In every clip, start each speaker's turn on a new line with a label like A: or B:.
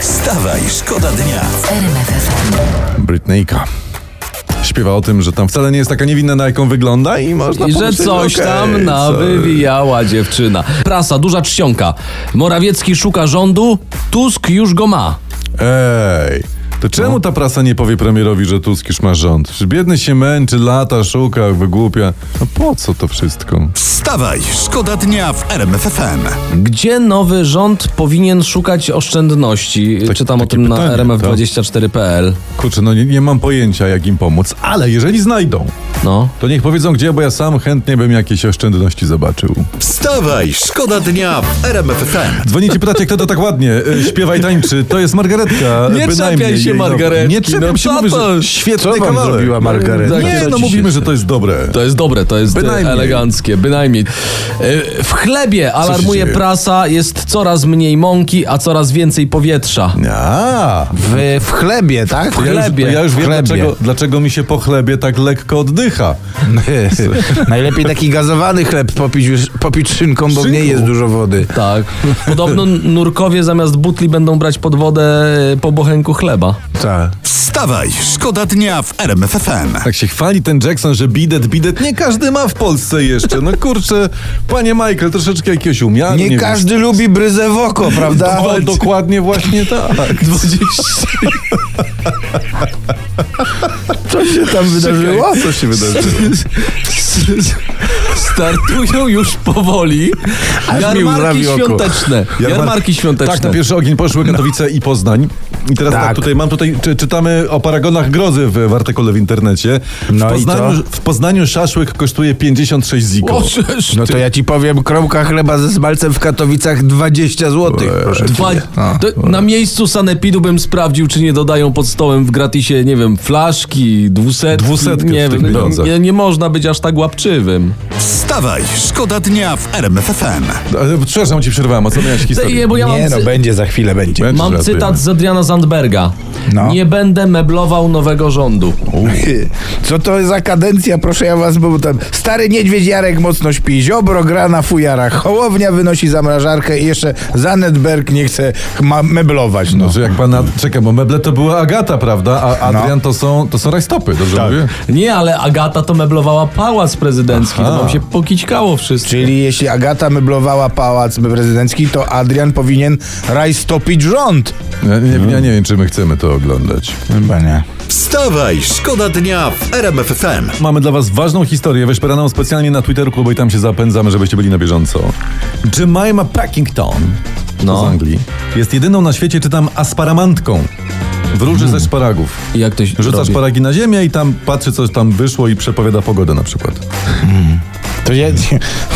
A: Wstawaj, szkoda dnia.
B: Brytneyka. Śpiewa o tym, że tam wcale nie jest taka niewinna, na jaką wygląda i można
C: I że
B: pomyśleć,
C: coś
B: okej,
C: tam nawywijała dziewczyna. Prasa, duża czcionka. Morawiecki szuka rządu, Tusk już go ma.
B: Ej, to czemu
C: No.
B: ta prasa nie powie premierowi, że Tusk już ma rząd? Czy biedny się męczy, lata, szuka, wygłupia? No po co to wszystko?
A: Wstawaj, szkoda dnia w RMFFM.
C: Gdzie nowy rząd powinien szukać oszczędności?
B: Tak-
C: Czytam o
B: takie
C: tym na
B: pytanie,
C: rmf24.pl.
B: Kurczę, no nie, nie mam pojęcia, jak im pomóc, ale jeżeli znajdą,
C: No.
B: to niech powiedzą gdzie, bo ja sam chętnie bym jakieś oszczędności zobaczył.
A: Wstawaj, szkoda dnia w RMFFM.
B: Dzwonicie, pytacie, kto to tak ładnie y, śpiwa i tańczy. To jest Margaretka.
C: Nie
B: bynajmniej
C: czepiaj się
B: jej dobro.
C: Margaretki,
B: Nie czepiam
C: no
B: się,
C: co
B: mówię,
C: to-
B: że świetny
D: co wam
B: kawałek.
D: zrobiła Margaretka?
B: Nie,
C: Co
B: no
C: ci
B: mówimy,
C: się
B: że to jest dobre.
C: To jest dobre, to jest e,
B: Bynajmniej.
C: eleganckie, bynajmniej. E, W chlebie, alarmuje
B: dzieje?
C: prasa, jest coraz mniej mąki, a coraz więcej powietrza.
B: A,
D: W, w chlebie, tak? W
C: chlebie.
B: Ja już wiem,
D: Chlebie.
B: dlaczego, dlaczego mi się po chlebie tak lekko oddycha.
D: Najlepiej taki gazowany chleb popić, już- popić szynką, bo w niej
B: Szynką?
D: jest dużo wody.
C: Tak. Podobno nurkowie zamiast butli będą brać pod wodę e, po bochenku chleba.
D: Tak.
A: Wstawaj, szkoda dnia w RMFFM.
B: Tak się chwali ten Jackson, że bidet, bidet nie każdy ma w Polsce jeszcze. No kurczę, panie Michael, troszeczkę jakiegoś umiaru.
D: Nie,
B: wiem.
D: każdy lubi bryzę w oko, prawda?
B: No, dokładnie właśnie tak.
C: 20.
D: Co się tam wydarzyło?
B: Co się wydarzyło?
C: Startują już powoli
D: mi
C: jarmarki
D: łzawi oko.
C: świąteczne. Jarmarki świąteczne.
B: Tak, na pierwszy ogień poszły Katowice i Poznań. I teraz tak,
D: Tak.
B: tutaj mam tutaj, czy, czytamy o paragonach grozy w, w artykule w internecie. W,
D: No i
B: Poznaniu, w Poznaniu szaszłyk kosztuje 56
C: O,
B: ziko.
C: czyż
D: No
C: ty.
D: to ja ci powiem, kromka chleba ze smalcem w Katowicach 20 zł. Proszę No. cię.
C: Dwa,
D: A.
C: to na miejscu sanepidu bym sprawdził, czy nie dodają pod stołem w gratisie, nie wiem, flaszki, dwusetki.
B: Dwusetki
C: nie,
B: w tych
C: wiem,
B: pieniądzach.
C: nie, nie można być aż tak łapczywym.
A: Wstawaj, szkoda dnia w RMFFM.
B: Ale Przepraszam, ci przerwałem, a co miałeś historię?
C: Nie, bo ja mam,
D: Nie no,
C: cy-
D: będzie za chwilę, będzie.
B: Będzie,
C: mam
B: żartujemy.
C: cytat z Adriana Zandberga.
D: No.
C: Nie będę meblował nowego rządu.
D: Co to za kadencja, proszę ja was, bo tam stary niedźwiedź Jarek mocno śpi, ziobro gra na fujarach, hołownia wynosi zamrażarkę i jeszcze Zanetberg nie chce ma- meblować. No.
B: No, że jak pan. Ad- Czekaj, bo meble to była Agata, prawda? A Adrian to są, to są rajstopy, dobrze mówię?
C: Nie, ale Agata to meblowała pałac prezydencki.
B: Aha.
C: To wam się pokićkało wszystko.
D: Czyli jeśli Agata meblowała pałac prezydencki, to Adrian powinien rajstopić rząd.
B: Ja nie, ja nie wiem, czy my chcemy to oglądać.
D: Chyba nie.
A: Wstawaj, szkoda dnia w RMFFM.
B: Mamy dla was ważną historię, wyszperaną specjalnie na Twitterku, bo i tam się zapędzamy, żebyście byli na bieżąco. Jemima Packington
C: No.
B: z Anglii jest jedyną na świecie, czytam, asparamantką w róży ze szparagów.
C: I jak to się
B: Rzuca
C: robi?
B: szparagi na ziemię i tam patrzy, co tam wyszło i przepowiada pogodę na przykład.
D: To ja,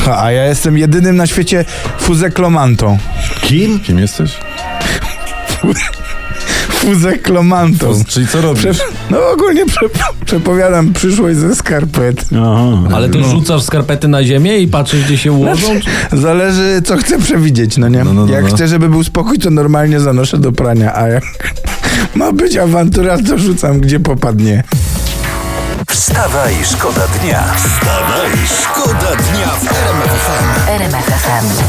D: a ja jestem jedynym na świecie fuzeklomantą.
B: Kim? Kim jesteś?
D: Fuzeklomantą.
B: Czyli co robisz?
D: Prze- no ogólnie prze- przepowiadam przyszłość ze skarpet.
C: Ale ty rzucasz skarpety na ziemię i patrzysz, gdzie się ułożą?
D: Zależy, co chcę przewidzieć, no nie?
B: No, no, no,
D: jak
B: no.
D: chcę, żeby był spokój, to normalnie zanoszę do prania, a jak ma być awantura, to rzucam, gdzie popadnie.
A: Wstawaj, szkoda dnia. Wstawaj, szkoda dnia w RMFFM.
E: RMFFM.